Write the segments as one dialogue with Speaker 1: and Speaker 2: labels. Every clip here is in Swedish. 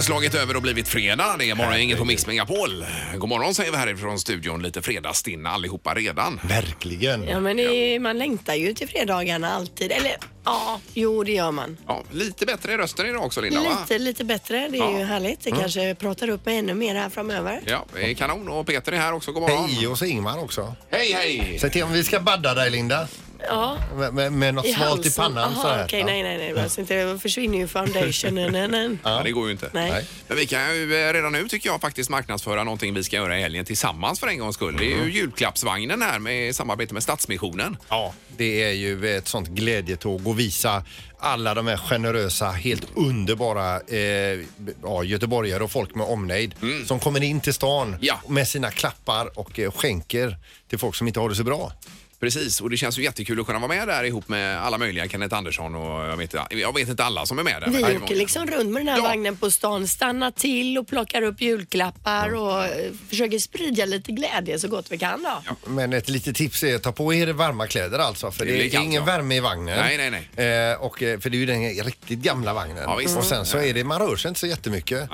Speaker 1: slagit över och blivit fredag. Det är morgongänget på Mix Megapol. God morgon säger vi härifrån studion. Lite fredagsstinna allihopa redan.
Speaker 2: Verkligen.
Speaker 3: Ja, men det är, man längtar ju till fredagarna alltid. Eller ja, jo det gör man.
Speaker 1: Ja, lite bättre i rösten idag också Linda va?
Speaker 3: Lite, lite bättre. Det är
Speaker 1: Ja.
Speaker 3: ju härligt. Det kanske pratar upp mig ännu mer här framöver.
Speaker 1: Ja, det är kanon. Och Peter är här också. God morgon.
Speaker 2: Hej och så Ingmar också.
Speaker 1: Hej, hej!
Speaker 2: Säg till om vi ska badda dig Linda.
Speaker 3: Ja.
Speaker 2: Med, med, med något smalt i pannan
Speaker 3: Aha,
Speaker 2: så här.
Speaker 3: Okej, nej, nej, nej. Det behövs inte. Då försvinner ju foundationen.
Speaker 1: Ja, det går ju inte.
Speaker 3: nej.
Speaker 2: Nej.
Speaker 1: Men vi kan ju eh, redan nu tycker jag faktiskt marknadsföra någonting vi ska göra i helgen tillsammans för en gångs skull. Det
Speaker 2: Mm.
Speaker 1: är ju julklappsvagnen här med i samarbete med Stadsmissionen.
Speaker 2: Ja, det är ju ett sånt glädjetåg och visa alla de här generösa, helt underbara eh, ja, göteborgare och folk med omnejd som kommer in till stan
Speaker 1: Ja.
Speaker 2: med sina klappar och eh, skänker till folk som inte har det så bra.
Speaker 1: Precis, och det känns ju jättekul att kunna vara med där ihop med alla möjliga. Kenneth Andersson och jag vet, jag vet inte alla som är med där. men det är
Speaker 3: Vi
Speaker 1: många.
Speaker 3: åker liksom runt med den här
Speaker 1: Ja.
Speaker 3: vagnen på stan, stannar till och plockar upp julklappar och eh, försöker sprida lite glädje så gott vi kan då.
Speaker 2: Men ett litet tips är att ta på er varma kläder alltså för
Speaker 1: Det
Speaker 2: det,
Speaker 1: blir
Speaker 2: är
Speaker 1: kallt,
Speaker 2: ingen
Speaker 1: ja.
Speaker 2: värme i vagnen.
Speaker 1: Nej, nej,
Speaker 2: nej. Eh, och, eh, för det är ju den riktigt gamla vagnen.
Speaker 1: Ja, visst.
Speaker 2: Och sen så är det, man rör sig inte så jättemycket.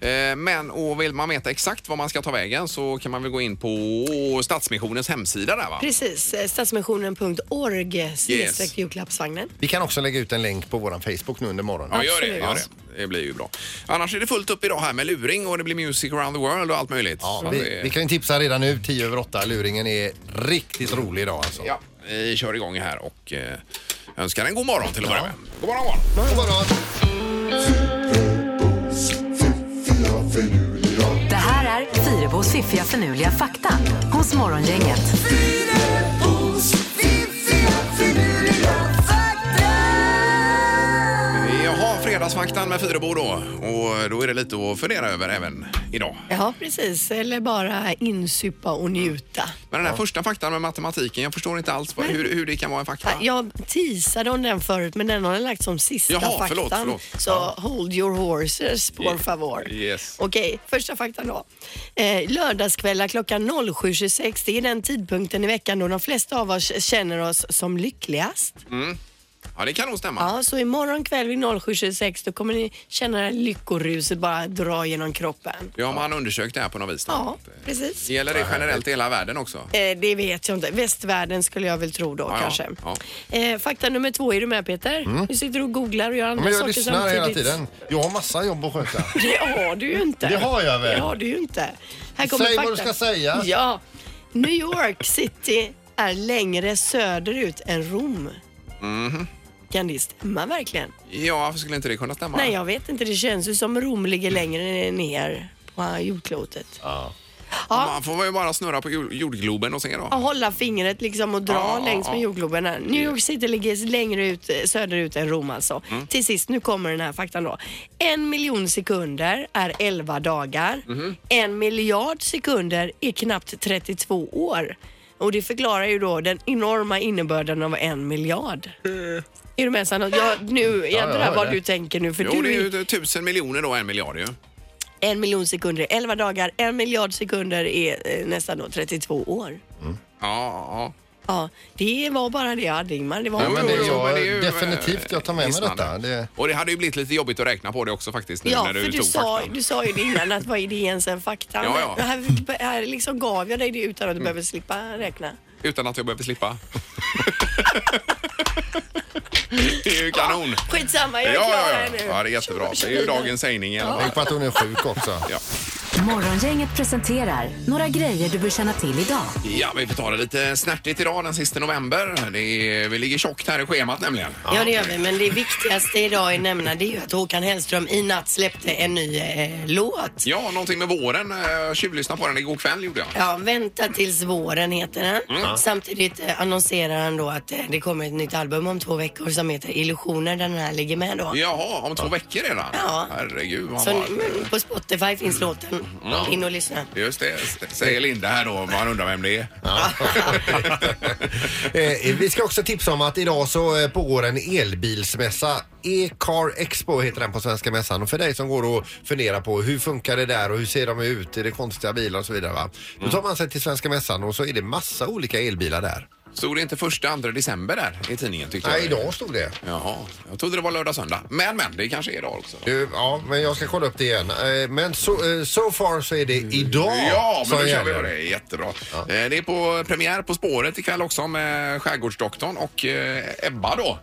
Speaker 1: Nej. Eh, Men och vill man veta exakt var man ska ta vägen så kan man väl gå in på Stadsmissionens hemsida där va?
Speaker 3: Precis, eh, stadsmissionen.org
Speaker 1: Yes.
Speaker 3: yes. julklappsvagnen.
Speaker 2: Vi kan också lägga ut en länk på vår Facebook nu under morgonen.
Speaker 1: Ja, gör det, gör
Speaker 3: Absolut.
Speaker 1: det. Det blir ju bra. Annars är det fullt upp idag här med luring och det blir music around the world och allt möjligt.
Speaker 2: Ja,
Speaker 1: Så
Speaker 2: vi,
Speaker 1: det-
Speaker 2: vi kan ju tipsa redan nu, 10 över 8. Luringen är riktigt rolig idag alltså.
Speaker 1: ja, vi kör igång här och eh, önskar en god morgon till att börja med. God morgon, morgon.
Speaker 2: God morgon.
Speaker 4: Det här är Fyrabos fiffiga förnuliga fakta hos Morgongänget.
Speaker 1: Jaha, Fredagsfaktan med Fyrebo då. Och då är det lite att fundera över även idag.
Speaker 3: Ja, precis. Eller bara insupa och njuta.
Speaker 1: Men den här första faktan med matematiken, jag förstår inte alls vad, hur, hur det kan vara en fakta.
Speaker 3: Jag teasade om den förut, men den har jag lagt som sista
Speaker 1: Jaha,
Speaker 3: faktan.
Speaker 1: förlåt, förlåt.
Speaker 3: Så hold your horses, por favor.
Speaker 1: yes.
Speaker 3: Okej, första faktan då. Eh, lördagskvällar klockan 07.26, det är den tidpunkten i veckan då de flesta av oss känner oss som lyckligast.
Speaker 1: Ja, det kan nog stämma.
Speaker 3: Ja, så imorgon kväll vid 07.26 då kommer ni känna det här lyckoruset bara dra genom kroppen.
Speaker 1: Ja, man har undersökt det här på något vis. då.
Speaker 3: Ja, precis.
Speaker 1: Gäller det generellt i hela världen också?
Speaker 3: Eh, det vet jag inte. Västvärlden skulle jag väl tro då
Speaker 1: Ja, ja,
Speaker 3: kanske.
Speaker 1: ja.
Speaker 3: Eh, fakta nummer två, är du med Peter? Du sitter och googlar och gör
Speaker 2: Mm.
Speaker 3: andra
Speaker 2: Men jag
Speaker 3: saker
Speaker 2: lyssnar
Speaker 3: samtidigt.
Speaker 2: hela tiden. Jag har massa jobb att sköta.
Speaker 3: Det har du ju inte.
Speaker 2: Det har jag väl.
Speaker 3: Det har du ju inte. Här kommer
Speaker 2: Säg vad
Speaker 3: fakta.
Speaker 2: du ska säga.
Speaker 3: Ja. New York City är längre söderut än Rom.
Speaker 2: Mhm.
Speaker 3: Kan det stämma verkligen?
Speaker 1: Ja, varför skulle inte det kunna stämma?
Speaker 3: Nej, jag vet inte. Det känns ju som Rom ligger längre ner på jordklotet. Ja.
Speaker 1: Man får ju bara snurra på jord- jordgloben och se då.
Speaker 3: Och hålla fingret liksom och dra
Speaker 1: Ja, ja,
Speaker 3: längs med
Speaker 1: ja.
Speaker 3: jordgloben. här. New York City ligger längre ut, eh, söderut än Rom alltså.
Speaker 1: Mm.
Speaker 3: Till sist, nu kommer den här faktan då. En miljon sekunder är 11 dagar.
Speaker 1: Mhm.
Speaker 3: En miljard sekunder är knappt 32 år. Och det förklarar ju då den enorma innebörden av en miljard.
Speaker 1: Eh.
Speaker 3: Är du med Sanna? Jag, nu, jag
Speaker 2: jag
Speaker 3: drar
Speaker 2: hör
Speaker 3: vad
Speaker 2: det.
Speaker 3: du tänker nu för
Speaker 1: Jo,
Speaker 3: du
Speaker 1: det är ju tusen miljoner då, en miljard ju.
Speaker 3: en miljon sekunder är 11 dagar, en miljard sekunder är eh, nästan då 32 år.
Speaker 1: Ja, ja.
Speaker 3: Ja, det var bara det jag hade Ingmar. Det var
Speaker 2: Ja, men det,
Speaker 1: Jo, jo, men
Speaker 2: jag,
Speaker 1: det är ju, eh,
Speaker 2: definitivt, jag tar med mig
Speaker 1: Visst,
Speaker 2: detta.
Speaker 1: man.
Speaker 2: Det,
Speaker 1: Och det hade ju blivit lite jobbigt att räkna på det också faktiskt nu
Speaker 3: Ja,
Speaker 1: när du,
Speaker 3: för du
Speaker 1: tog
Speaker 3: sa,
Speaker 1: faktan.
Speaker 3: du sa ju det innan att vad är det ens en fakta?
Speaker 1: Ja, ja.
Speaker 3: Men Här, här liksom gav jag dig det utan att du behöver slippa räkna.
Speaker 1: Utan att jag behöver slippa. det är ju kanon.
Speaker 3: Skitsamma, jag
Speaker 1: Ja,
Speaker 3: är klar
Speaker 1: ja,
Speaker 3: här
Speaker 1: ja.
Speaker 3: nu.
Speaker 1: ja, det är jättebra. Det är ju dagens sägning i alla fall.
Speaker 2: tänk på att hon är sjuk också.
Speaker 1: Ja.
Speaker 4: Morgongänget presenterar några grejer du bör känna till idag.
Speaker 1: ja, vi får ta det lite snärtigt idag den sista november. Det är, vi ligger tjockt här i schemat nämligen.
Speaker 3: Ja, det gör vi. Men det viktigaste idag är nämna det är ju att Håkan Hellström i natt släppte en ny eh, låt.
Speaker 1: Ja, någonting med våren. Eh, Jag tjuvlyssnade på den igår kväll gjorde jag.
Speaker 3: Ja, Vänta tills våren heter den.
Speaker 1: Mm.
Speaker 3: Samtidigt eh, annonserar han då att eh, det kommer ett nytt album om två veckor som heter Illusioner. Den här ligger med då.
Speaker 1: Jaha, om två veckor redan?
Speaker 3: Ja.
Speaker 1: Herregud, vad Mm.
Speaker 3: Så
Speaker 1: var...
Speaker 3: nu- på Spotify finns låten. In och lyssna.
Speaker 1: Just det, s- säger Linda här då. Man undrar vem det är.
Speaker 2: Eh, vi ska också tipsa om att idag så eh, pågår en elbilsmässa. E-car Expo heter den på Svenska Mässan. Och för dig som går och funderar på hur funkar det där och hur ser de
Speaker 1: Mm.
Speaker 2: ut? Är det konstiga bilar och så vidare va? Då tar man sig till Svenska Mässan och så är det massa olika elbilar där.
Speaker 1: Stod det inte första, andra december där i tidningen tyckte
Speaker 2: Nej,
Speaker 1: jag?
Speaker 2: idag stod det.
Speaker 1: Jaha, jag trodde det var lördag, söndag. Men, men, det kanske är idag också.
Speaker 2: Du, ja, men jag ska kolla upp det igen. Eh, Men so, eh, so far så är det idag
Speaker 1: Ja, men
Speaker 2: som
Speaker 1: då kör vi
Speaker 2: gäller.
Speaker 1: på det. Jättebra. Eh, Det är på premiär På spåret ikväll också med Skärgårdsdoktorn och eh, Ebba då.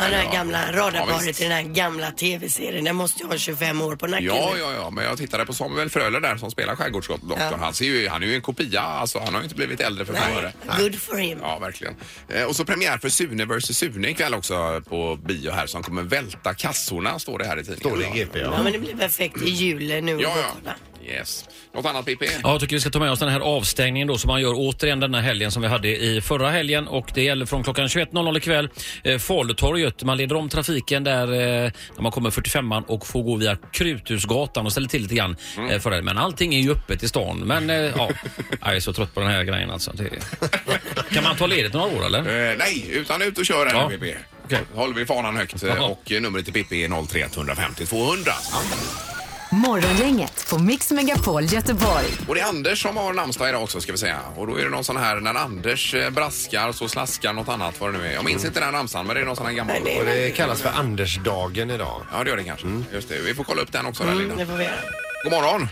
Speaker 3: Ja, den
Speaker 1: Ja.
Speaker 3: här gamla
Speaker 1: Ja,
Speaker 3: radarparet
Speaker 1: visst.
Speaker 3: i den här gamla tv-serien. Den måste ju ha 25 år på nacken.
Speaker 1: Ja, ja, ja, men jag tittade på Samuel Fröler där som spelar Skärgårdsdoktorn.
Speaker 3: Ja.
Speaker 1: Han, ser ju, han är ju en kopia, alltså han har ju inte blivit äldre för fem
Speaker 3: Nej,
Speaker 1: öre.
Speaker 3: good for him.
Speaker 1: Ja, verkligen. Eh, Och så premiär för Sune vs Sune ikväll också på bio här som kommer välta kassorna, står det här i tidningen.
Speaker 2: Står det i GP,
Speaker 3: Ja,
Speaker 2: ja.
Speaker 3: men det blir perfekt i julen nu.
Speaker 1: Ja,
Speaker 3: att
Speaker 1: ja.
Speaker 3: kolla.
Speaker 1: Yes. Något annat Pippi?
Speaker 5: Ja, jag tycker vi ska ta med oss den här avstängningen då som man gör återigen denna helgen som vi hade i förra helgen och det gäller från klockan 21.00 ikväll. Eh, Falutorget, man leder om trafiken där eh, när man kommer 45an och får gå via Kruthusgatan och ställer till lite grann eh, för det. Men allting är ju öppet i stan. Men eh, ja, jag är så trött på den här grejen alltså. Det... Kan man ta ledigt några år eller?
Speaker 1: Eh, nej, utan ut och kör här
Speaker 5: Ja.
Speaker 1: nu Pippi.
Speaker 5: Okej.
Speaker 1: Håller vi fanan högt eh,
Speaker 5: Jaha.
Speaker 1: och eh, numret till Pippi är 031 150 200.
Speaker 4: Morgongänget på Mix Megapol Göteborg.
Speaker 1: Och det är Anders som har namnsdag idag också ska vi säga. Och då är det någon sån här när Anders eh, braskar så slaskar något annat vad det nu är. Jag minns inte den här namnsdagen men det är någon sån här gammal.
Speaker 3: Mm. Nej, det är-
Speaker 2: Och det kallas för Andersdagen idag.
Speaker 1: Ja det gör det kanske. Just det. Vi får kolla upp den också där,
Speaker 3: Mm,
Speaker 1: Linda.
Speaker 3: det får vi göra.
Speaker 1: God morgon!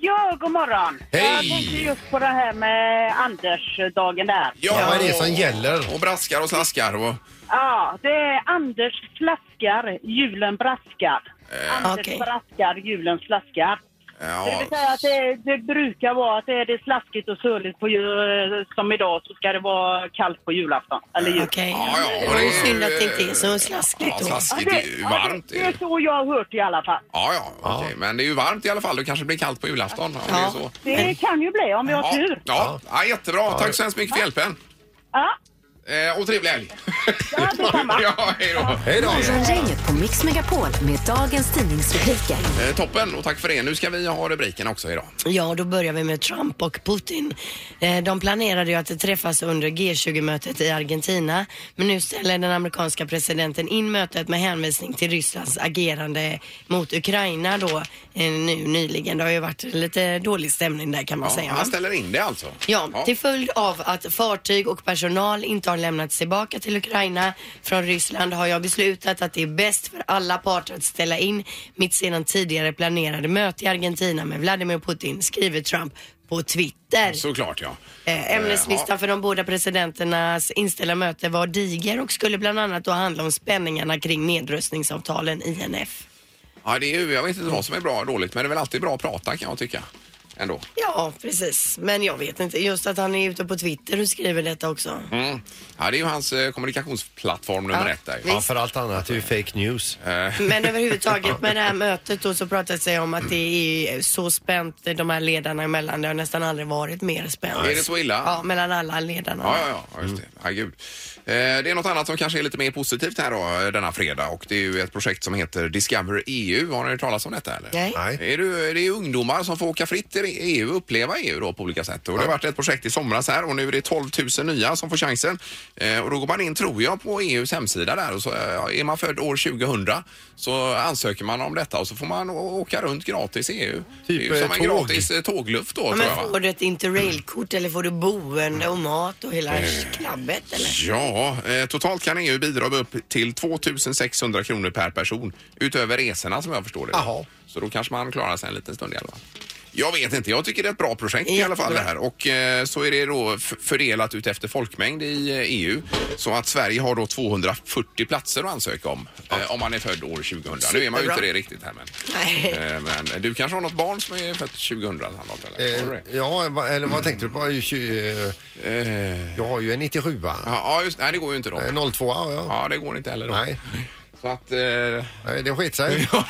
Speaker 6: Ja, god morgon. Jag
Speaker 2: Hej!
Speaker 6: tänkte just på det här med Andersdagen där.
Speaker 2: Ja, vad är det som gäller?
Speaker 1: Och braskar och slaskar och...
Speaker 6: Ja, det är Anders slaskar, julen braskar. Anders
Speaker 3: Okej.
Speaker 6: braskar, julen slaskar. Det
Speaker 1: Ja,
Speaker 6: vill säga att det, det brukar vara att är det slaskigt och söligt på jul, som idag så ska det vara kallt på julafton. Eller jul.
Speaker 3: Eh, Okej.
Speaker 1: Ja, ja,
Speaker 3: Det
Speaker 1: och
Speaker 3: var ju
Speaker 1: det är-
Speaker 3: synd att det inte är så slaskigt
Speaker 1: ja
Speaker 3: då.
Speaker 6: Ja,
Speaker 1: slaskigt är ju
Speaker 6: ja,
Speaker 1: varmt.
Speaker 6: det, det är så jag har hört i alla fall.
Speaker 1: Ja, ja, okej. Men det är ju varmt i alla fall. Det kanske blir kallt på julafton om det är så.
Speaker 6: Det kan ju bli om vi har
Speaker 1: Ja,
Speaker 6: tur.
Speaker 1: ja. ja jättebra. Tack så hemskt mycket för hjälpen.
Speaker 6: Ja,
Speaker 1: Eh, och trevlig helg!
Speaker 6: ja detsamma.
Speaker 1: ja, hej då!
Speaker 2: Hej då!
Speaker 4: Morgongänget på Mix Megapol med dagens tidningsrubriker.
Speaker 1: Eh, toppen och tack för det. Nu ska vi ha rubriken också idag.
Speaker 3: Ja, då börjar vi med Trump och Putin. Eh, De planerade ju att träffas under G20-mötet i Argentina. Men nu ställer den amerikanska presidenten in mötet med hänvisning till Rysslands agerande mot Ukraina då eh, nu nyligen. Det har ju varit lite dålig stämning där kan man
Speaker 1: Ja,
Speaker 3: säga. va?
Speaker 1: han ställer in det alltså?
Speaker 3: Ja, till följd av att fartyg och personal inte har lämnats tillbaka till Ukraina från Ryssland har jag beslutat att det är bäst för alla parter att ställa in mitt sedan tidigare planerade möte i Argentina med Vladimir Putin, skriver Trump på Twitter.
Speaker 1: Såklart ja.
Speaker 3: Eh,
Speaker 1: Eh, ja.
Speaker 3: Ämneslistan för de båda presidenternas inställda möte var diger och skulle bland annat då handla om spänningarna kring nedrustningsavtalen INF.
Speaker 1: Ja, det är ju, jag vet inte vad som är bra och dåligt, men det är väl alltid bra att prata kan jag tycka. Ändå.
Speaker 3: Ja, precis. Men jag vet inte. Just att han är ute på Twitter och skriver detta också.
Speaker 1: Mm. Ja, det är ju hans eh, kommunikationsplattform nummer
Speaker 3: Ja,
Speaker 1: ett där. ju.
Speaker 2: Ja, för allt annat är ju fake news.
Speaker 3: Men överhuvudtaget med det här mötet då så pratas det om att det är så spänt de här ledarna emellan. Det har nästan aldrig varit mer spänt.
Speaker 1: Är det så illa?
Speaker 3: Ja, mellan alla ledarna.
Speaker 1: Ja, ja, ja, ja, just det.
Speaker 3: Mm.
Speaker 1: Ja, gud. Eh, det är något annat som kanske är lite mer positivt här då, eh, denna fredag och det är ju ett projekt som heter Discover EU. Har ni hört talas om detta eller?
Speaker 3: Nej.
Speaker 2: Nej.
Speaker 1: Är det, det är ju ungdomar som får åka fritt i EU och uppleva EU då på olika sätt. Och det har varit ett projekt i somras här och nu är det 12 000 nya som får chansen. Eh, och då går man in, tror jag, på EUs hemsida där och så eh, är man född år 2000 så ansöker man om detta och så får man å- åka runt gratis i EU. det är ju
Speaker 2: eh,
Speaker 1: som en
Speaker 2: tåg.
Speaker 1: gratis eh, tågluft då
Speaker 3: Ja,
Speaker 1: tror jag. va?
Speaker 3: men får du ett interrailkort eller får du boende och mat och hela klabbet eller?
Speaker 1: Ja, eh, totalt kan EU bidra med upp till 2 600 kronor per person utöver resorna som jag förstår det.
Speaker 2: Jaha.
Speaker 1: Så då kanske man klarar sig en liten stund i alla fall. Jag vet inte, jag tycker det är ett bra projekt i alla fall det här och eh, så är det då f- fördelat ut efter folkmängd i eh, EU så att Sverige har då 240 platser att ansöka om eh, om man är född år 2000. Nu är man ju inte det riktigt här men.
Speaker 3: Nej.
Speaker 1: Eh, men du kanske har något barn som är fött 2000 Sandholt, eller? Har du
Speaker 2: Eh,
Speaker 1: det?
Speaker 2: ja, va- eller vad tänkte du på? Ju tju- eh, Jag har ju en 97 va?
Speaker 1: Ja, just Nej, det går ju inte då.
Speaker 2: Eh, 02 ja. ja.
Speaker 1: Ja, det går inte heller då.
Speaker 2: Nej,
Speaker 1: Så att... Eh,
Speaker 2: nej, det skit sig.
Speaker 1: Ja,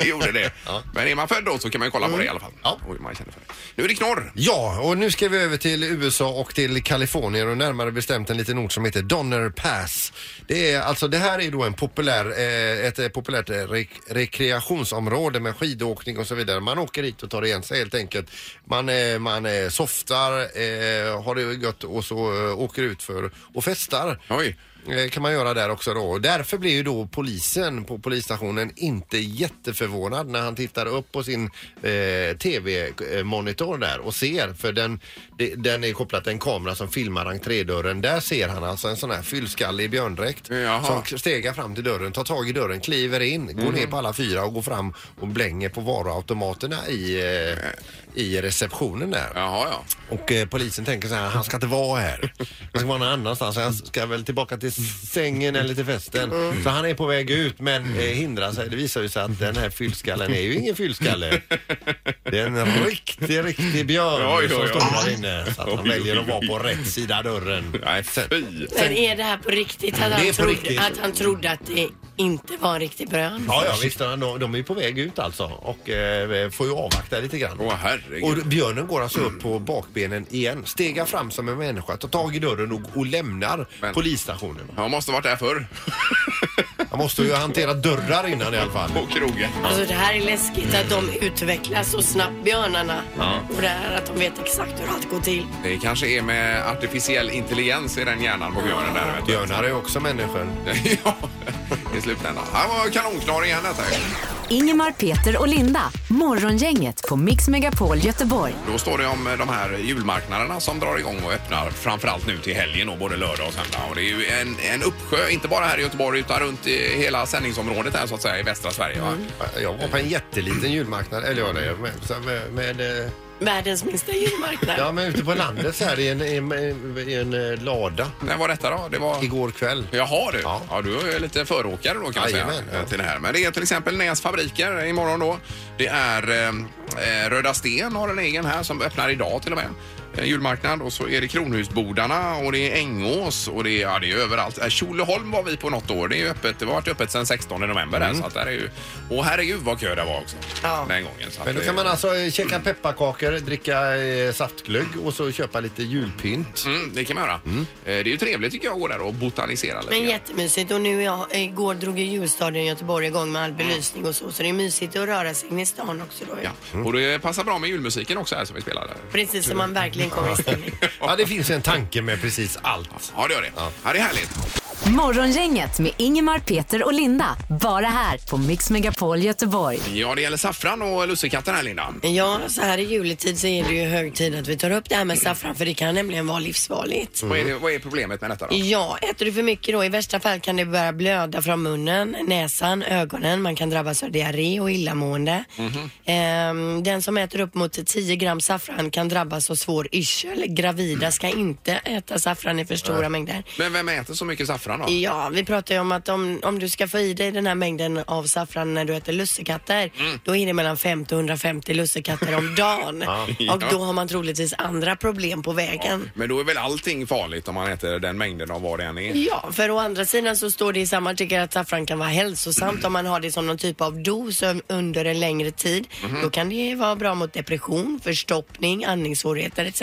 Speaker 1: det gjorde det. Men är man född då så kan man ju kolla på det i alla fall.
Speaker 2: Ja.
Speaker 1: Oj, man känner för det. Nu är det knorr.
Speaker 2: Ja, och nu ska vi över till USA och till Kalifornien och närmare bestämt en liten ort som heter Donner Pass. Det är alltså, det här är då en populär, eh, ett eh, populärt eh, re rekreationsområde med skidåkning och så vidare. Man åker dit och tar igen sig helt enkelt. Man, eh, man eh, softar, eh, har det gött och så eh, åker ut för och festar.
Speaker 1: Oj.
Speaker 2: eh, kan man göra där också då. Och Därför blir ju då polisen på polisstationen inte jätteförvånad när han tittar upp på sin eh, tv-monitor där och ser, för den, de- den är kopplad till en kamera som filmar entrédörren. Där ser han alltså en sån här fyllskallig björndräkt
Speaker 1: Jaha. Mhm.
Speaker 2: som k- stegar fram till dörren, tar tag i dörren, kliver in, går ner på alla fyra och går fram och blänger på varuautomaterna i, eh, i receptionen där.
Speaker 1: Jaha, ja.
Speaker 2: Och eh, polisen tänker så här, han ska inte vara här. Han ska vara någon annanstans. Han ska väl tillbaka till sängen eller till festen.
Speaker 1: Mm.
Speaker 2: Så han är på väg ut men eh, hindrar sig. Det visar ju sig att den här fyllskallen är ju ingen fyllskalle. Det är en riktig, riktig björn
Speaker 1: Oj, oj,
Speaker 2: som
Speaker 1: oj.
Speaker 2: står där inne. Så att han
Speaker 1: Oj,
Speaker 2: väljer att
Speaker 1: oj,
Speaker 2: vara
Speaker 1: oj.
Speaker 2: på rätt sida dörren.
Speaker 1: Nej, fy.
Speaker 3: Men är det här på riktigt? Att han,
Speaker 2: Det är på
Speaker 3: trodde,
Speaker 2: riktigt.
Speaker 3: Att, han trodde att det inte var en riktig brön?
Speaker 2: Ja, ja visst. De, de är ju på väg ut alltså och eh, får ju avvakta lite grann.
Speaker 1: Åh, herregud.
Speaker 2: Och björnen går alltså upp på bakbenen igen, stegar fram som en människa, tar tag i dörren och, och lämnar
Speaker 1: Men-
Speaker 2: polisstationen.
Speaker 1: Han måste ha varit där förr.
Speaker 2: Han måste ju hantera dörrar innan i alla fall.
Speaker 1: På krogen.
Speaker 3: Alltså det här är läskigt att de utvecklas så snabbt, björnarna. Och det här att de vet exakt hur allt går till.
Speaker 1: Det kanske är med artificiell intelligens i den hjärnan på björnen där. Vet du.
Speaker 2: Björnar är också människor.
Speaker 1: ja, i slutändan. Han var kanonklar igen detta.
Speaker 4: Ingemar, Peter och Linda. Morgongänget på Mix Megapol Göteborg.
Speaker 1: Då står det om eh, de här julmarknaderna som drar igång och öppnar framförallt nu till helgen och både lördag och söndag. Och det är ju en, en uppsjö, inte bara här i Göteborg utan runt i hela sändningsområdet här så att säga i västra Sverige. Va?
Speaker 2: Jag var på en jätteliten julmarknad, eller jag det, med, så med, med, eh,
Speaker 3: Världens minsta julmarknad.
Speaker 2: ja, men ute på landet så här i en, i en, i en eh, lada
Speaker 1: När var detta då? Det var...
Speaker 2: igår kväll.
Speaker 1: Jaha du, ja.
Speaker 2: Ja.
Speaker 1: du är lite föråkare då kan jag säga.
Speaker 2: Jajamän, ja.
Speaker 1: Till det här. Men det är till exempel Näs fabriker imorgon då. Det är eh, eh, Röda Sten har en egen här som öppnar idag till och med. Eh, julmarknad och så är det Kronhusbodarna och det är Ängås och det är, ja, det är överallt. Eh, Tjolöholm var vi på något år. Det är ju öppet. Det har varit öppet sedan 16 november där,
Speaker 2: Mm.
Speaker 1: så att där är ju... Och herregud vad kö det var också. Den gången. Så att
Speaker 2: Men då
Speaker 1: det-
Speaker 2: kan man alltså eh, käka pepparkakor, dricka eh, saftglögg och så köpa lite julpynt.
Speaker 1: Mm, det kan man göra. Eh, Det är ju trevligt tycker jag att gå där och botanisera lite.
Speaker 3: Men
Speaker 1: grann.
Speaker 3: jättemysigt och nu jag, igår drog ju julstaden i Göteborg igång med all belysning och så så det är mysigt att röra sig in i stan också då. ju.
Speaker 1: Ja. Och det passar bra med julmusiken också här som vi spelade.
Speaker 3: Precis som man verkligen kommer i stämning.
Speaker 2: Ja, det finns en tanke med precis allt.
Speaker 1: Ja, det gör det. Ja. det är härligt.
Speaker 4: Morgongänget med Ingemar, Peter och Linda. Bara här på Mix Megapol Göteborg.
Speaker 1: Ja, det gäller saffran och lussekatten här, Linda.
Speaker 3: Ja, så här i juletid så är det ju hög tid att vi tar upp det här med saffran för det kan nämligen vara livsfarligt.
Speaker 1: Vad, är
Speaker 2: Mm.
Speaker 1: det, vad är problemet med detta då?
Speaker 3: Ja, äter du för mycket då, i värsta fall kan det börja blöda från munnen, näsan, ögonen. Man kan drabbas av diarré och illamående. Ehm, den som äter upp mot 10 gram saffran kan drabbas av svår yrsel. Gravida ska inte äta saffran i för stora mängder.
Speaker 1: Men vem äter så mycket saffran då?
Speaker 3: Ja, vi pratar ju om att om, om du ska få i dig den här mängden av saffran när du äter lussekatter, då är det mellan 50 och 150 lussekatter om dagen. Och då har man troligtvis andra problem på vägen.
Speaker 1: Men då är väl allting farligt om man äter den mängden av vad det än är?
Speaker 3: Ja, för å andra sidan så står det i samma artikel att saffran kan vara hälsosamt om man har det som någon typ av dos ö- under en längre tid. Då kan det vara bra mot depression, förstoppning, andningssvårigheter etc.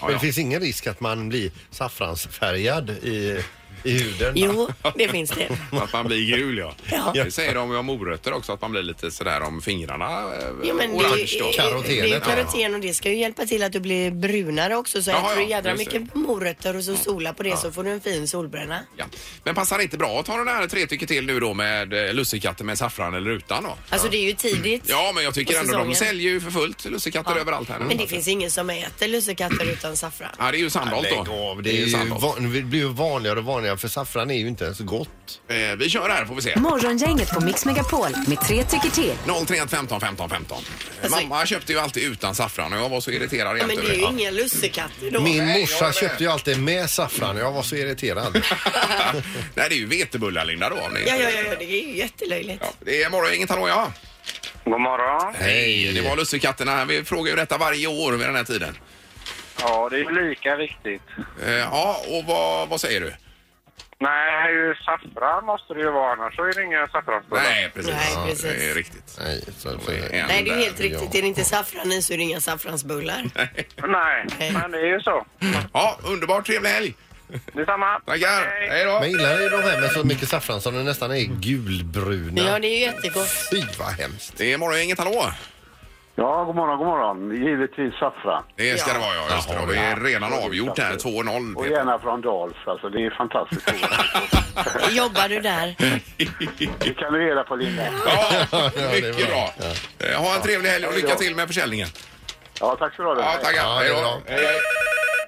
Speaker 2: Men det finns ingen risk att man blir saffransfärgad i, i huden.
Speaker 3: Jo, det finns det.
Speaker 1: Att man blir gul, ja.
Speaker 3: Ja.
Speaker 1: Det säger de ju om morötter också, att man blir lite sådär om fingrarna. eh,
Speaker 3: Jo, men det,
Speaker 1: orange då.
Speaker 3: är-
Speaker 2: Karotenet,
Speaker 3: det är ju
Speaker 2: ja.
Speaker 3: karoten och det ska ju hjälpa till att du blir brunare också. Så
Speaker 1: Jaha,
Speaker 3: äter du
Speaker 1: ja,
Speaker 3: jädra
Speaker 1: just det.
Speaker 3: mycket morötter och så sola på det så får du en fin solbränna.
Speaker 1: Ja. Men passar det inte bra att ta den här tre tycker till nu då med eh, lussekatter med saffran eller utan då?
Speaker 3: Alltså det är ju tidigt.
Speaker 1: Ja, men jag tycker
Speaker 3: på
Speaker 1: ändå de
Speaker 3: säsongen.
Speaker 1: säljer ju för fullt lussekatter överallt här nu.
Speaker 3: Men det finns ingen som äter lussekatter utan saffran.
Speaker 1: Ja, det är ju Sandholt då.
Speaker 2: Lägg av, det, är ju
Speaker 1: Sandholt.
Speaker 2: van, det blir ju vanligare och vanligare för saffran är ju inte ens gott.
Speaker 1: Eh, Vi kör här får vi se.
Speaker 4: Morgongänget på Mix Megapol med tre tycker till.
Speaker 1: 031 15 15 15.
Speaker 3: Alltså-
Speaker 1: Mamma köpte ju alltid utan saffran och jag var så irriterad
Speaker 3: Ja, men det är ju
Speaker 1: över
Speaker 3: inga lussekatter då.
Speaker 2: Min
Speaker 1: nej, jag
Speaker 2: morsa
Speaker 1: med.
Speaker 2: köpte ju alltid med saffran. Jag var så irriterad.
Speaker 1: Nej, det är ju vetebullar Linda då. Om det
Speaker 3: Ja,
Speaker 1: inte-
Speaker 3: ja, ja, ja, det är ju jättelöjligt.
Speaker 1: Ja, Det är morgongänget, hallå ja.
Speaker 7: God morgon.
Speaker 1: Hej, det var lussekatterna. här. Vi frågar ju detta varje år vid den här tiden.
Speaker 7: Ja, det är lika viktigt.
Speaker 1: Eh, Ja, och vad, vad säger du?
Speaker 7: Nej, ju saffran måste det ju vara, annars så är det inga saffransbullar.
Speaker 1: Nej, precis.
Speaker 3: Nej,
Speaker 1: Ja,
Speaker 3: precis.
Speaker 1: Det är riktigt.
Speaker 2: Nej, så, så,
Speaker 1: En
Speaker 3: Nej, det är
Speaker 1: där.
Speaker 3: ju helt riktigt. Är det inte saffran i så är det inga saffransbullar.
Speaker 7: Nej, men det är ju så.
Speaker 1: Ja, underbart. Trevlig helg.
Speaker 7: Detsamma.
Speaker 1: Tackar.
Speaker 7: Hej.
Speaker 1: Hej då.
Speaker 2: men gillar ni de här med så mycket saffran som de nästan är gulbruna?
Speaker 3: Ja, det är ju jättegott.
Speaker 2: Fy vad hemskt.
Speaker 1: Det är morgongänget, hallå.
Speaker 8: Ja, god morgon, god morgon. Givetvis saffran.
Speaker 1: Det ska det vara ja, just det. Och det är redan avgjort här, 2-0.
Speaker 8: Och
Speaker 1: Peter.
Speaker 8: gärna från Dals, alltså det är fantastiskt roligt.
Speaker 3: Jobbar du där?
Speaker 8: Det kan du reda på Linda.
Speaker 1: Ja,
Speaker 2: det är
Speaker 1: mycket
Speaker 2: bra.
Speaker 1: bra. Eh, Ha en trevlig helg och lycka
Speaker 8: Ja.
Speaker 1: till med försäljningen.
Speaker 8: Ja, tack så du
Speaker 1: Ja, tackar.
Speaker 2: Ja, det
Speaker 1: Hej
Speaker 2: är
Speaker 1: då.
Speaker 2: bra.
Speaker 1: Hej, hej.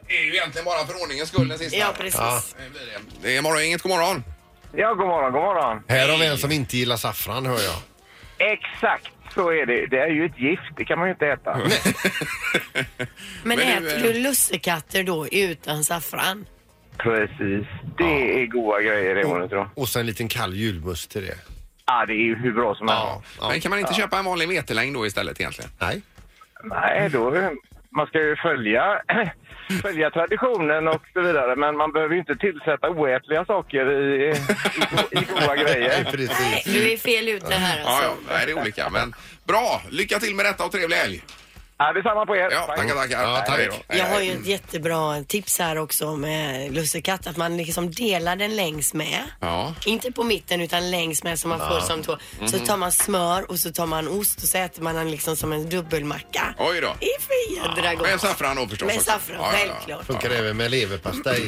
Speaker 1: Det är ju egentligen bara för ordningens skull den sista.
Speaker 3: Ja, precis.
Speaker 2: Ja.
Speaker 1: Det blir det. Det är morgon, inget god morgon.
Speaker 9: Ja, god morgon, god morgon.
Speaker 2: Här har vi en som inte gillar saffran hör jag.
Speaker 9: Exakt så är det. Det är ju ett gift, det kan man ju inte äta.
Speaker 7: Mm.
Speaker 3: Men,
Speaker 1: Men du,
Speaker 3: äter
Speaker 1: eh,
Speaker 3: du lussekatter då utan saffran?
Speaker 9: Precis. Det är goda grejer, det må ni tro.
Speaker 2: Och sen en liten kall julmust till det.
Speaker 9: Ja, det är ju hur bra som helst.
Speaker 2: ja.
Speaker 1: Men kan man inte köpa en vanlig meterlängd då istället egentligen?
Speaker 2: Nej.
Speaker 9: Nej, då... Man ska ju följa, följa traditionen och så vidare, men man behöver ju inte tillsätta oätliga saker i, i, go- i goda
Speaker 2: Nej,
Speaker 9: grejer.
Speaker 3: Nej,
Speaker 2: precis.
Speaker 3: du är fel ute här
Speaker 1: Ja,
Speaker 3: alltså.
Speaker 1: ja, nej, det är olika. Men bra, lycka till med detta och trevlig helg.
Speaker 9: Ja, detsamma på er.
Speaker 1: Ja,
Speaker 9: Tack.
Speaker 1: tackar, tackar.
Speaker 2: Ja, tack.
Speaker 1: Hej då.
Speaker 3: Jag har ju ett jättebra tips här också med lussekatt, att man liksom delar den längs med.
Speaker 1: Ja. Mhm.
Speaker 3: Inte på mitten utan längs med som man får som tå. Så tar man smör och så tar man ost och så äter man den liksom som en dubbelmacka.
Speaker 1: Oj då.
Speaker 3: Det är för jädra gott.
Speaker 1: Med saffran då förstås
Speaker 3: Med
Speaker 1: också.
Speaker 3: saffran,
Speaker 1: Ja, ja, ja.
Speaker 3: självklart.
Speaker 2: Funkar även med leverpastej.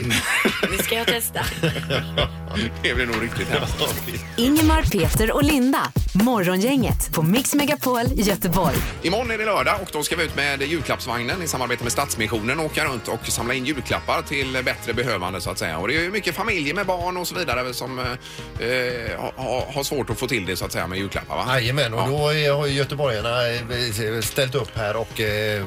Speaker 3: Det ska jag testa.
Speaker 1: Det blir nog riktigt hemskt.
Speaker 4: Ingemar, Peter och Linda. Morgongänget på Mix Megapol Göteborg.
Speaker 1: Imorgon är det lördag och då ska vi ut med julklappsvagnen i samarbete med Stadsmissionen och åka runt och samla in julklappar till bättre behövande så att säga. Och det är ju mycket familjer med barn och så vidare som eh, eh, ha- ha- har svårt att få till det så att säga med julklappar va?
Speaker 2: Jajamän, och då är- har ju göteborgarna eh, ställt upp här och eh,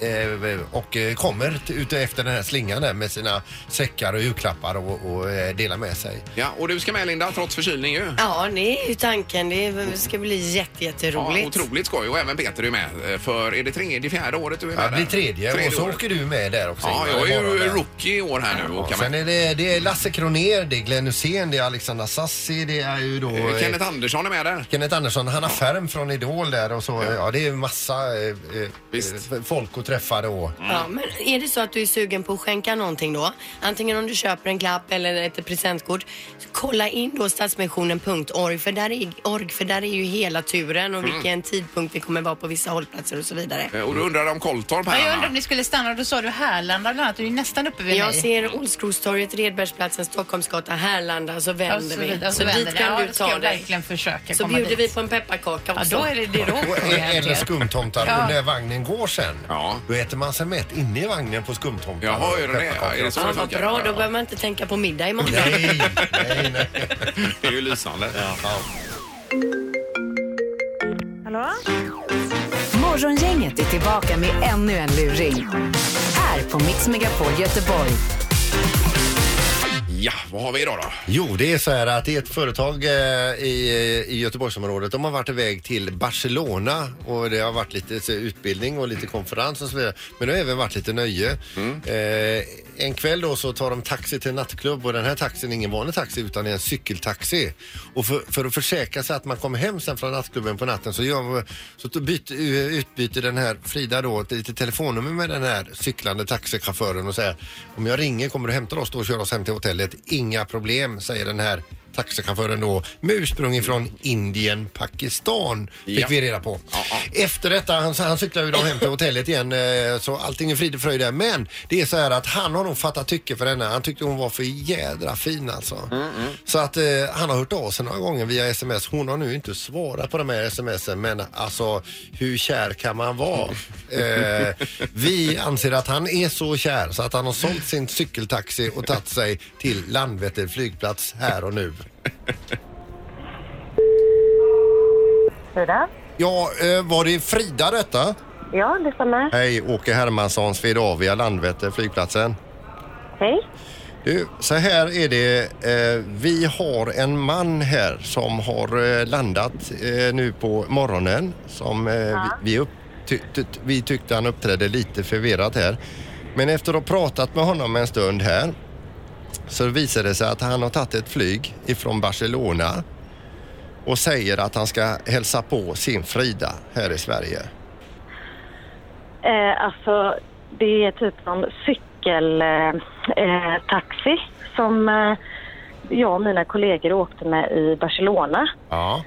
Speaker 2: eh, och eh, kommer t- ute efter den här slingan där med sina säckar och julklappar och, och eh, delar med sig.
Speaker 1: Ja, och du ska med Linda trots förkylning ju.
Speaker 3: Ja, det är ju tanken. Det ska bli jätte, jätteroligt.
Speaker 1: Ja, otroligt skoj och även Peter är med. eh, För är det tredje, fjärde året du är med?
Speaker 2: Ja, det blir tredje, och så
Speaker 1: året.
Speaker 2: åker du med där också.
Speaker 1: Ja,
Speaker 2: Ingmar,
Speaker 1: jag är
Speaker 2: imorgon
Speaker 1: ju
Speaker 2: där.
Speaker 1: rookie i år här nu och åka
Speaker 2: Sen
Speaker 1: med.
Speaker 2: är det, det är Lasse Kroner, det är Glenn Hussein, det är Alexandra Sassi, det är ju då...
Speaker 1: Eh,
Speaker 2: eh,
Speaker 1: Kenneth Andersson är med där.
Speaker 2: Kenneth Andersson, Hanna Färm från Idol där och så. Ja, det är massa eh, eh,
Speaker 1: Visst.
Speaker 2: f- folk att träffa då.
Speaker 3: Ja, men är det så att du är sugen på att skänka någonting då, antingen om du köper en klapp eller ett presentkort, så kolla in då stadsmissionen.org för, där är- org, för där är ju hela turen
Speaker 1: Mm.
Speaker 3: och vilken tidpunkt det kommer vara på vissa hållplatser och så vidare.
Speaker 1: Eh, Och du undrar om Kolltorp här
Speaker 10: Men jag
Speaker 1: Anna?
Speaker 10: undrar om ni skulle stanna. Då sa du Härlanda bland annat. Du är ju nästan uppe vid
Speaker 3: Jag
Speaker 10: mig.
Speaker 3: ser Olskrostorget, Redbergsplatsen, Stockholmsgatan, Härlanda så
Speaker 10: och
Speaker 3: vänder
Speaker 10: så
Speaker 3: vi.
Speaker 10: vidare. Och
Speaker 3: Så
Speaker 10: så vänder
Speaker 3: dit
Speaker 10: det. Ja,
Speaker 3: kan du
Speaker 10: det ska
Speaker 3: ta
Speaker 10: jag
Speaker 3: dig.
Speaker 10: verkligen försöka
Speaker 3: Så
Speaker 10: komma
Speaker 3: bjuder
Speaker 10: dit.
Speaker 3: vi på en pepparkaka
Speaker 10: Ja,
Speaker 3: också.
Speaker 10: då är det det då.
Speaker 2: Och- Eller skumtomtar.
Speaker 10: Ja.
Speaker 2: Och när vagnen går sen,
Speaker 1: Ja.
Speaker 2: då äter man sig mätt inne i vagnen på skumtomtar.
Speaker 1: Jaha, är det det? Ja, är det så?
Speaker 3: Ja, vad bra, då behöver man inte tänka på middag imorgon.
Speaker 2: Nej, nej, nej.
Speaker 1: Det är ju lysande.
Speaker 6: Hallå?
Speaker 4: Morgongänget är tillbaka med ännu en luring. Här på Mix Megapol Göteborg.
Speaker 1: Ja, vad har vi idag då?
Speaker 2: Jo, det är så här att det är ett företag eh, i, i Göteborgsområdet. De har varit iväg till Barcelona och det har varit lite så, utbildning och lite konferens och så vidare. Men det har även varit lite nöje.
Speaker 1: Mm.
Speaker 2: Eh, en kväll då så tar de taxi till en nattklubb och den här taxin är ingen vanlig taxi utan det är en cykeltaxi. Och för, för att försäkra sig att man kommer hem sen från nattklubben på natten så, gör, så då byt, eh, utbyter den här Frida då ett litet telefonnummer med den här cyklande taxichauffören och säger om jag ringer kommer du hämta oss då och köra oss hem till hotellet. Inga problem, säger den här taxichauffören då med ursprung ifrån Indien, Pakistan fick
Speaker 1: Ja.
Speaker 2: vi reda på. Efter detta, han, han cyklar ju då hem till hotellet igen eh, så allting är frid och fröjd där. Men det är så här att han har nog fattat tycke för henne. Han tyckte hon var för jädra fin alltså. Så att eh, han har hört av sig några gånger via sms. Hon har nu inte svarat på de här smsen men alltså hur kär kan man vara? Eh, vi anser att han är så kär så att han har sålt sin cykeltaxi och tagit sig till Landvetter flygplats här och nu.
Speaker 6: Frida?
Speaker 2: Ja, eh, var det Frida detta?
Speaker 6: Ja, det stämmer.
Speaker 2: Hej, Åke Hermansson, Swedavia, Landvetter, flygplatsen.
Speaker 6: Hej.
Speaker 2: Du, så här är det. Eh, vi har en man här som har eh, landat eh, nu på morgonen. Som eh, vi, vi, upp, ty, ty, vi tyckte han uppträdde lite förvirrat här. Men efter att ha pratat med honom en stund här så visade det sig att han har tagit ett flyg ifrån Barcelona och säger att han ska hälsa på sin Frida här i Sverige.
Speaker 6: Eh, alltså, det är typ någon cykeltaxi eh, taxi som eh, jag och mina kollegor åkte med i Barcelona.
Speaker 2: Ja.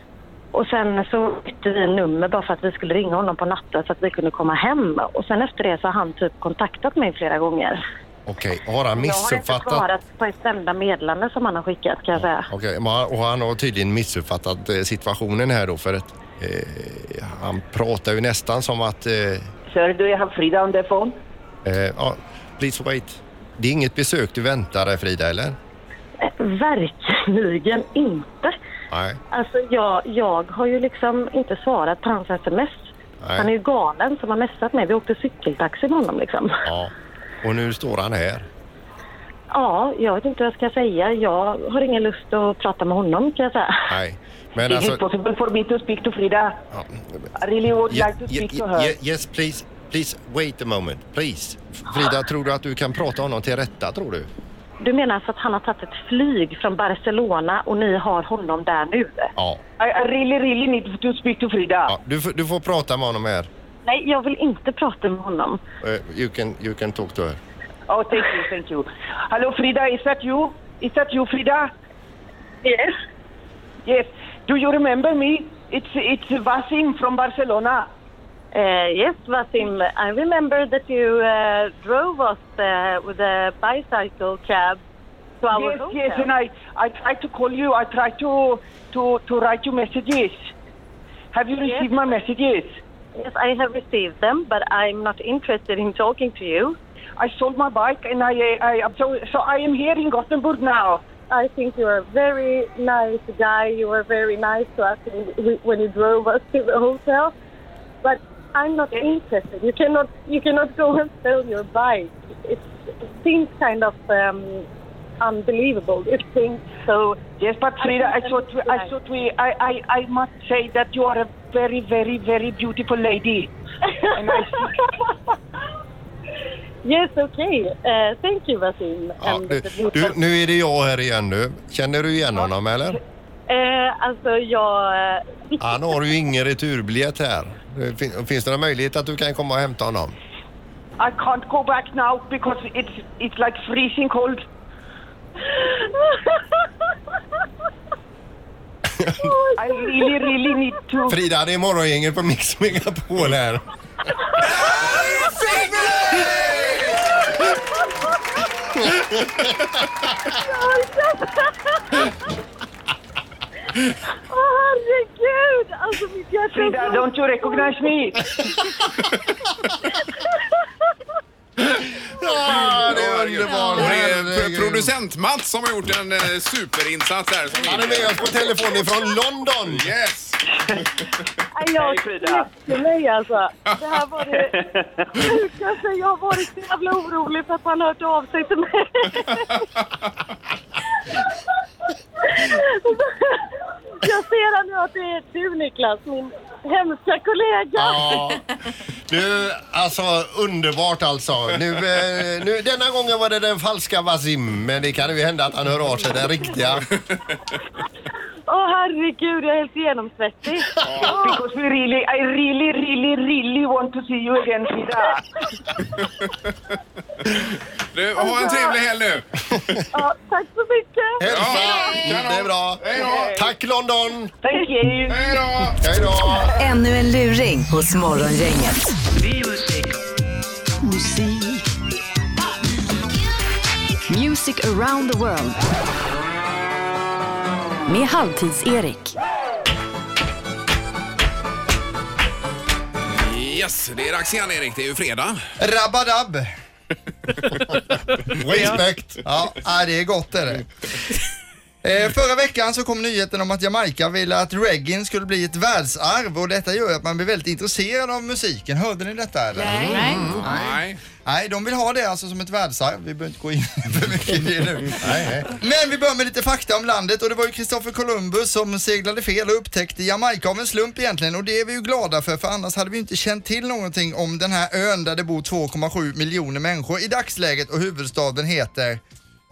Speaker 11: Och sen så bytte vi nummer bara för att vi skulle ringa honom på natten så att vi kunde komma hem. Och sen efter det så har han typ kontaktat mig flera gånger.
Speaker 2: Okej, har han
Speaker 11: Jag har inte
Speaker 2: missuppfattat?
Speaker 11: svarat på ett enda meddelande som han har skickat kan jag säga.
Speaker 2: Okej, men han- och han har tydligen missuppfattat eh, situationen här då för att eh, han pratar ju nästan som att eh,
Speaker 12: Sir, do you have Frida on the phone?
Speaker 2: eh, ja, please wait. Det är inget besök du väntar dig Frida eller?
Speaker 11: Verkligen inte.
Speaker 2: Nej.
Speaker 11: Alltså jag, jag har ju liksom inte svarat på hans sms.
Speaker 2: Nej.
Speaker 11: Han är ju galen som har messat mig. Vi åkte cykeltaxi med honom liksom.
Speaker 2: Ja. Och nu står han här.
Speaker 11: Ja, jag vet inte vad jag ska säga. Jag har ingen lust att prata med honom kan jag säga.
Speaker 2: Nej. Men
Speaker 11: Is it
Speaker 2: alltså...
Speaker 12: Possible for me to speak to Frida? I really would
Speaker 2: Ye-
Speaker 12: like to speak
Speaker 2: ye-
Speaker 12: to her.
Speaker 2: ye- yes please, please wait a moment, please. Frida, tror du att du kan prata honom till rätta tror du?
Speaker 11: Du menar alltså att han har tagit ett flyg från Barcelona och ni har honom där nu?
Speaker 2: Ja.
Speaker 12: I, I really, really need to speak to Frida.
Speaker 2: ja du, får- du får prata med honom här.
Speaker 11: Nej, jag vill inte prata med honom.
Speaker 2: Eh, you, can, you can talk to her.
Speaker 12: Oh, thank you, thank you. Hello, Frida, is that you? Is that you, Frida? Yes. Yes. Do you remember me? It's it's Vasim from Barcelona.
Speaker 11: Uh, yes, Vasim, I remember that you uh, drove us uh, with a bicycle cab to our
Speaker 12: yes,
Speaker 11: hotel.
Speaker 12: yes, and I I tried to call you. I tried to to to write you messages. Have you
Speaker 11: Yes.
Speaker 12: received my messages?
Speaker 11: Yes, I have received them, but I'm not interested in talking to you.
Speaker 12: I sold my bike and I uh, I I'm so so I am here in Gothenburg now.
Speaker 11: I think you are a very nice guy. You were very nice to us when- when you drove us to the hotel. But I'm not interested. You cannot, you cannot go and sell your bike. It seems kind of um, unbelievable. It seems so.
Speaker 12: Yes, but
Speaker 11: I
Speaker 12: Frida,
Speaker 11: think
Speaker 12: I thought we, I
Speaker 11: that's
Speaker 12: thought we I, I I must say that you are a very very very beautiful lady. and I
Speaker 11: Yes, okay. Uh, thank you, Vasim.
Speaker 2: Ja,
Speaker 11: And
Speaker 2: du,
Speaker 11: the people.
Speaker 2: du, nu är det jag här igen nu. Känner du igen honom eller?
Speaker 11: Eh, alltså, jag... eh,
Speaker 2: Han har ju ingen returbiljett här. Det fin- Finns det någon möjlighet att du kan komma och hämta honom?
Speaker 12: I can't go back now because it's it's like freezing cold. I really, really need to.
Speaker 2: Frida, det är morgongänget på Mix Megapol här.
Speaker 11: Åh, herregud! Alltså, mitt hjärta...
Speaker 12: Frida, don't you recognize me?
Speaker 2: Ja, det är
Speaker 1: underbart. Det är producent-Mats som har gjort en eh, superinsats här. Som
Speaker 2: Han är med oss på telefon ifrån London.
Speaker 1: Yes!
Speaker 11: Nej, Jag knäckte mig alltså. Det här var det sjukaste. Jag har varit så jävla orolig för att han hört av sig till mig. Jag ser här nu att det är du Niklas, min hemska kollega.
Speaker 2: Ja. Du, alltså underbart alltså. Nu, eh, nu, denna gången var det den falska Wasim, men det kan ju hända att han hör av sig den riktiga.
Speaker 11: Åh herregud, jag är helt genomsvettig.
Speaker 12: Because we really, I really, really, really want to see you again, Frida.
Speaker 1: Du, ha en trevlig helg nu!
Speaker 11: Ja, tack så mycket.
Speaker 2: Hälsa! Det är bra. Tack London!
Speaker 12: Thank you.
Speaker 1: Hej då!
Speaker 2: Hej då!
Speaker 4: Ännu en luring hos Morgongänget. Music around the world. Med Halvtids-Erik.
Speaker 1: Yes, det är dags igen Erik. Det är ju fredag.
Speaker 13: Rabadab.
Speaker 2: Respekt.
Speaker 13: Ja, ja, det är gott är det. Eh, förra veckan så kom nyheten om att Jamaica ville att reggae skulle bli ett världsarv och detta gör ju att man blir väldigt intresserad av musiken. Hörde ni detta eller?
Speaker 1: Nej.
Speaker 13: Nej. Nej, de vill ha det alltså som ett världsarv. Vi behöver inte gå in för mycket i det nu. Men vi börjar med lite fakta om landet och det var ju Kristoffer Columbus som seglade fel och upptäckte Jamaica av en slump egentligen och det är vi ju glada för för annars hade vi ju inte känt till någonting om den här ön där det bor 2,7 miljoner människor i dagsläget och huvudstaden heter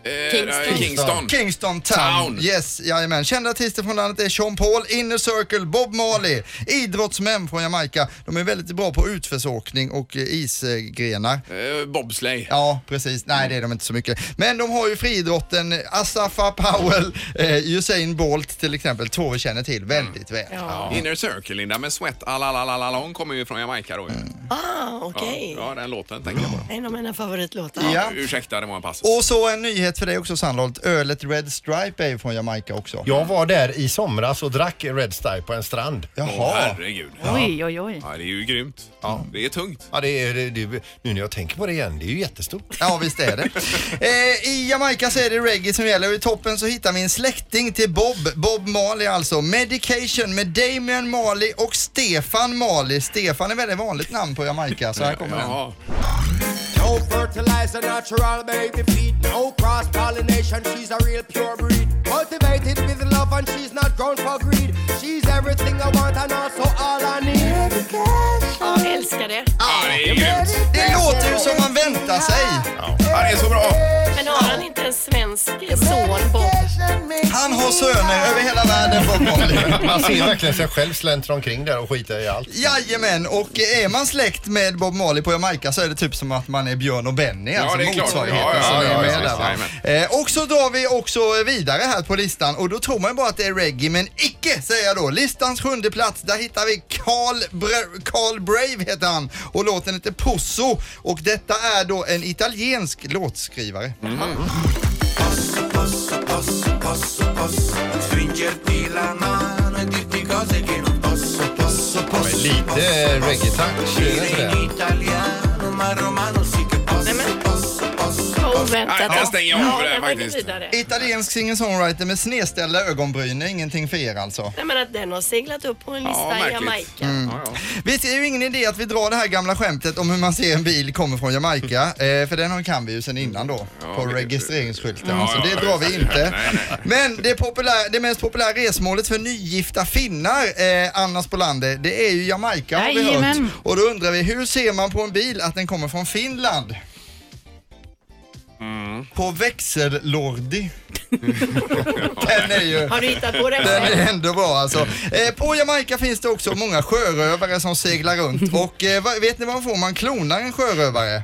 Speaker 1: Eh,
Speaker 13: Kingston.
Speaker 1: Kingston.
Speaker 13: Kingston Town.
Speaker 1: Town.
Speaker 13: Yes, jajamän. Kända artister från landet är Sean Paul, Inner Circle, Bob Marley, idrottsmän från Jamaica. De är väldigt bra på utförsåkning och eh, isgrenar.
Speaker 1: Eh, bobsleigh.
Speaker 13: Ja, precis. Nej, det är de inte så mycket. Men de har ju friidrotten eh, Asafa Powell, eh, Usain Bolt till exempel. Två vi känner till väldigt väl.
Speaker 1: Ja. Inner Circle, Linda, med Sweat Alalalalong kommer ju från Jamaica då ju.
Speaker 3: Ah, okej.
Speaker 1: Ja, den låten tänker jag på.
Speaker 3: En av mina favoritlåtar.
Speaker 1: Ja. Ursäkta, det var en pass.
Speaker 13: Och så en nyhet för dig också Sandholt. Ölet Red Stripe är ju från Jamaica också.
Speaker 2: Jag var där i somras och drack Red Star på en strand.
Speaker 13: Jaha.
Speaker 1: Åh, herregud.
Speaker 10: Oj, oj, oj.
Speaker 1: Ja, det är ju grymt. Det är tungt.
Speaker 2: Ja, det är, det, det, nu när jag tänker på det igen, det är ju jättestort.
Speaker 13: Ja, visst är det. Eh, I Jamaica så är det reggae som gäller och i toppen så hittar vi en släkting till Bob, Bob Marley alltså. Medication med Damian Marley och Stefan Marley. Stefan är väldigt vanligt namn på Jamaica så här kommer den.
Speaker 1: Jaha.
Speaker 14: No fertilizer, natural baby feed. No cross pollination, she's a real pure breed. Cultivated with love, and she's not grown for greed. She's everything I want, and also all I need.
Speaker 3: Ja, jag älskar det.
Speaker 1: Ja, det är grymt.
Speaker 13: Det låter ju som man väntar sig.
Speaker 1: Ja, det är så bra.
Speaker 3: Men har han inte en svensk son, Bob?
Speaker 13: Han har söner över hela världen Bob Marley.
Speaker 2: Man ser verkligen sig själv släntra omkring där och skita i allt.
Speaker 13: Jajamän, och är man släkt med Bob Marley på Jamaica så är det typ som att man är Björn och Benny,
Speaker 1: Ja,
Speaker 13: alltså
Speaker 1: det är klart.
Speaker 13: motsvarigheten
Speaker 1: Ja, ja,
Speaker 13: som
Speaker 1: ja,
Speaker 13: är med
Speaker 1: precis.
Speaker 13: där. Va? Eh, och så drar vi också vidare här på listan och då tror man ju bara att det är reggae, men icke säger jag då. Listans sjunde plats, där hittar vi Carl, Bra- Carl Brave heter han och låten heter Posso och detta är då en italiensk låtskrivare.
Speaker 14: Posso, posso, posso, posso stringerti la mano e dirti cose che non posso, posso, posso.
Speaker 2: Lite reggae-touch. är det inte
Speaker 14: Dire
Speaker 2: det?
Speaker 14: in italiano, ma romano sì che posso, posso, posso.
Speaker 1: Nej,
Speaker 3: Oväntat.
Speaker 1: jag stänger av det
Speaker 3: den var
Speaker 1: faktiskt.
Speaker 3: vidare.
Speaker 13: Italiensk singer-songwriter med snedställda ögonbryn, är ingenting för er alltså.
Speaker 3: Nej, men att den har seglat upp på en
Speaker 1: Ja,
Speaker 3: lista i
Speaker 1: märkligt. Mm.
Speaker 3: Jamaica.
Speaker 1: Ja, ja.
Speaker 13: Visst är det ju ingen idé att vi drar det här gamla skämtet om hur man ser en bil kommer från Jamaica, eh, för den kan vi ju sedan innan då, på
Speaker 1: det-
Speaker 13: registreringsskylten.
Speaker 1: Ja,
Speaker 13: så
Speaker 1: ja,
Speaker 13: det
Speaker 1: ja,
Speaker 13: drar vi
Speaker 1: ja,
Speaker 13: inte.
Speaker 1: nej, nej.
Speaker 13: Men det, populär, det mest populära resmålet för nygifta finnar, eh, Anna Spolander, det är ju Jamaica har vi hört.
Speaker 10: Jajamän.
Speaker 13: Och då undrar vi, hur ser man på en bil att den kommer från Finland? På växellordi. den är ju...
Speaker 3: Har du hittat på den
Speaker 13: Den
Speaker 3: själv?
Speaker 13: är ändå bra alltså. Eh, på Jamaica finns det också många sjörövare som seglar runt och eh, vad- vet ni vad man får om man klonar en sjörövare?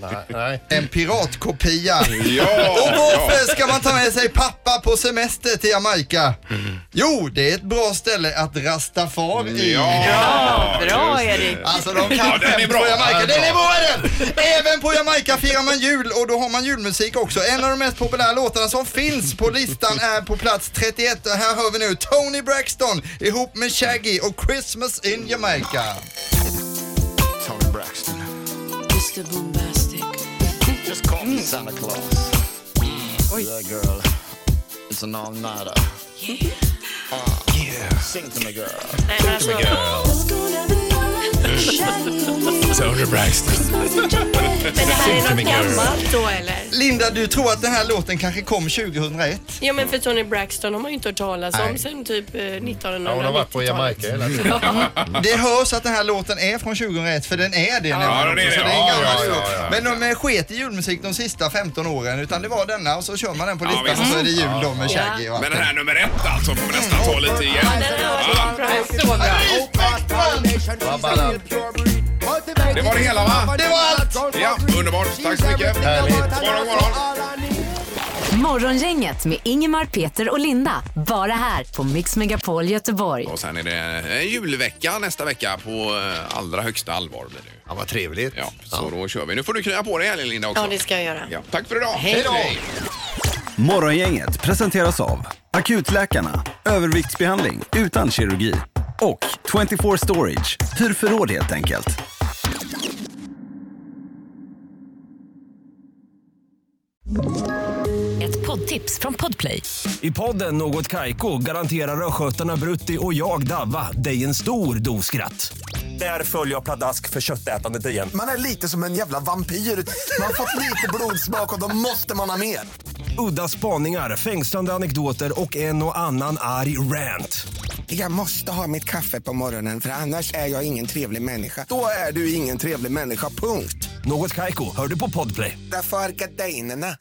Speaker 2: Nej, nej.
Speaker 13: En piratkopia.
Speaker 1: Ja,
Speaker 13: och varför
Speaker 1: ja.
Speaker 13: ska man ta med sig pappa på semester till Jamaica?
Speaker 1: Mm.
Speaker 13: Jo, det är ett bra ställe att rasta far i.
Speaker 1: Ja,
Speaker 3: Bra
Speaker 1: just det.
Speaker 3: Erik!
Speaker 13: Alltså de kan
Speaker 1: Ja, den är
Speaker 13: skämt
Speaker 1: bra.
Speaker 13: på Jamaica.
Speaker 1: Den är
Speaker 13: Den är bra den! Även på Jamaica firar man jul och då har man julmusik också. En av de mest populära låtarna som finns på listan är på plats 31 och här hör vi nu Tony Braxton ihop med Shaggy och Christmas in Jamaica.
Speaker 14: Tony Braxton. Mr. Bombastic. Just call me Santa Claus. Yeah, girl. It's an all-nighter. Uh, Sing to me, girl.
Speaker 3: Nej, men alltså,
Speaker 1: Tony Braxton.
Speaker 3: men det här är något gammalt då eller?
Speaker 13: Linda, du tror att den här låten kanske kom 2001?
Speaker 3: Ja men för Tony Braxton har man ju inte hört talas om
Speaker 13: Nej.
Speaker 3: sen typ eh, 1990-talet.
Speaker 2: Ja, hon har varit på Jamaica hela tiden.
Speaker 13: Det hörs att den här låten är från 2001 för den är det
Speaker 1: Ja,
Speaker 13: nämligen.
Speaker 1: den är det.
Speaker 13: Så det är en
Speaker 1: Ja,
Speaker 13: gammal
Speaker 1: ja,
Speaker 13: låt.
Speaker 1: ja, ja.
Speaker 13: Men de eh, sket i julmusik de sista 15 åren utan det var denna och så kör man den på
Speaker 1: Ja,
Speaker 13: listan
Speaker 1: visst.
Speaker 13: och så är det jul då med Shaggy och allt
Speaker 1: Men
Speaker 13: det.
Speaker 1: den här nummer ett alltså får vi nästan ta lite igen. Ja. Det var det hela va?
Speaker 13: Det var allt!
Speaker 1: Ja, underbart. Tack så mycket.
Speaker 2: Härligt.
Speaker 1: Morgon, morgon.
Speaker 4: Morgongänget med Ingemar, Peter och Linda. Bara här på Mix Megapol Göteborg.
Speaker 1: Och sen är det en julvecka nästa vecka på eh, allra högsta allvar blir det ju.
Speaker 2: Ja, vad trevligt.
Speaker 1: Ja, så då kör vi. Nu får du krya på dig i helgen Linda också.
Speaker 3: Ja det ska jag göra.
Speaker 1: Ja, tack för idag.
Speaker 3: Hej då.
Speaker 15: Morgongänget presenteras av Akutläkarna, överviktsbehandling utan kirurgi och 24 Storage, hur förråd helt enkelt.
Speaker 4: Ett poddtips från Podplay.
Speaker 16: I podden Något Kaiko garanterar östgötarna Brutti och jag, Davva, dig en stor dos skratt. Där följer jag pladask för köttätandet igen.
Speaker 14: Man är lite som en jävla vampyr. Man har fått lite blodsmak och då måste man ha mer.
Speaker 16: Udda spaningar, fängslande anekdoter och en och annan arg rant.
Speaker 14: Jag måste ha mitt kaffe på morgonen för annars är jag ingen trevlig människa. Då är du ingen trevlig människa, punkt.
Speaker 16: Något Kaiko, hör du på Podplay.
Speaker 14: Därför arkadeinerna.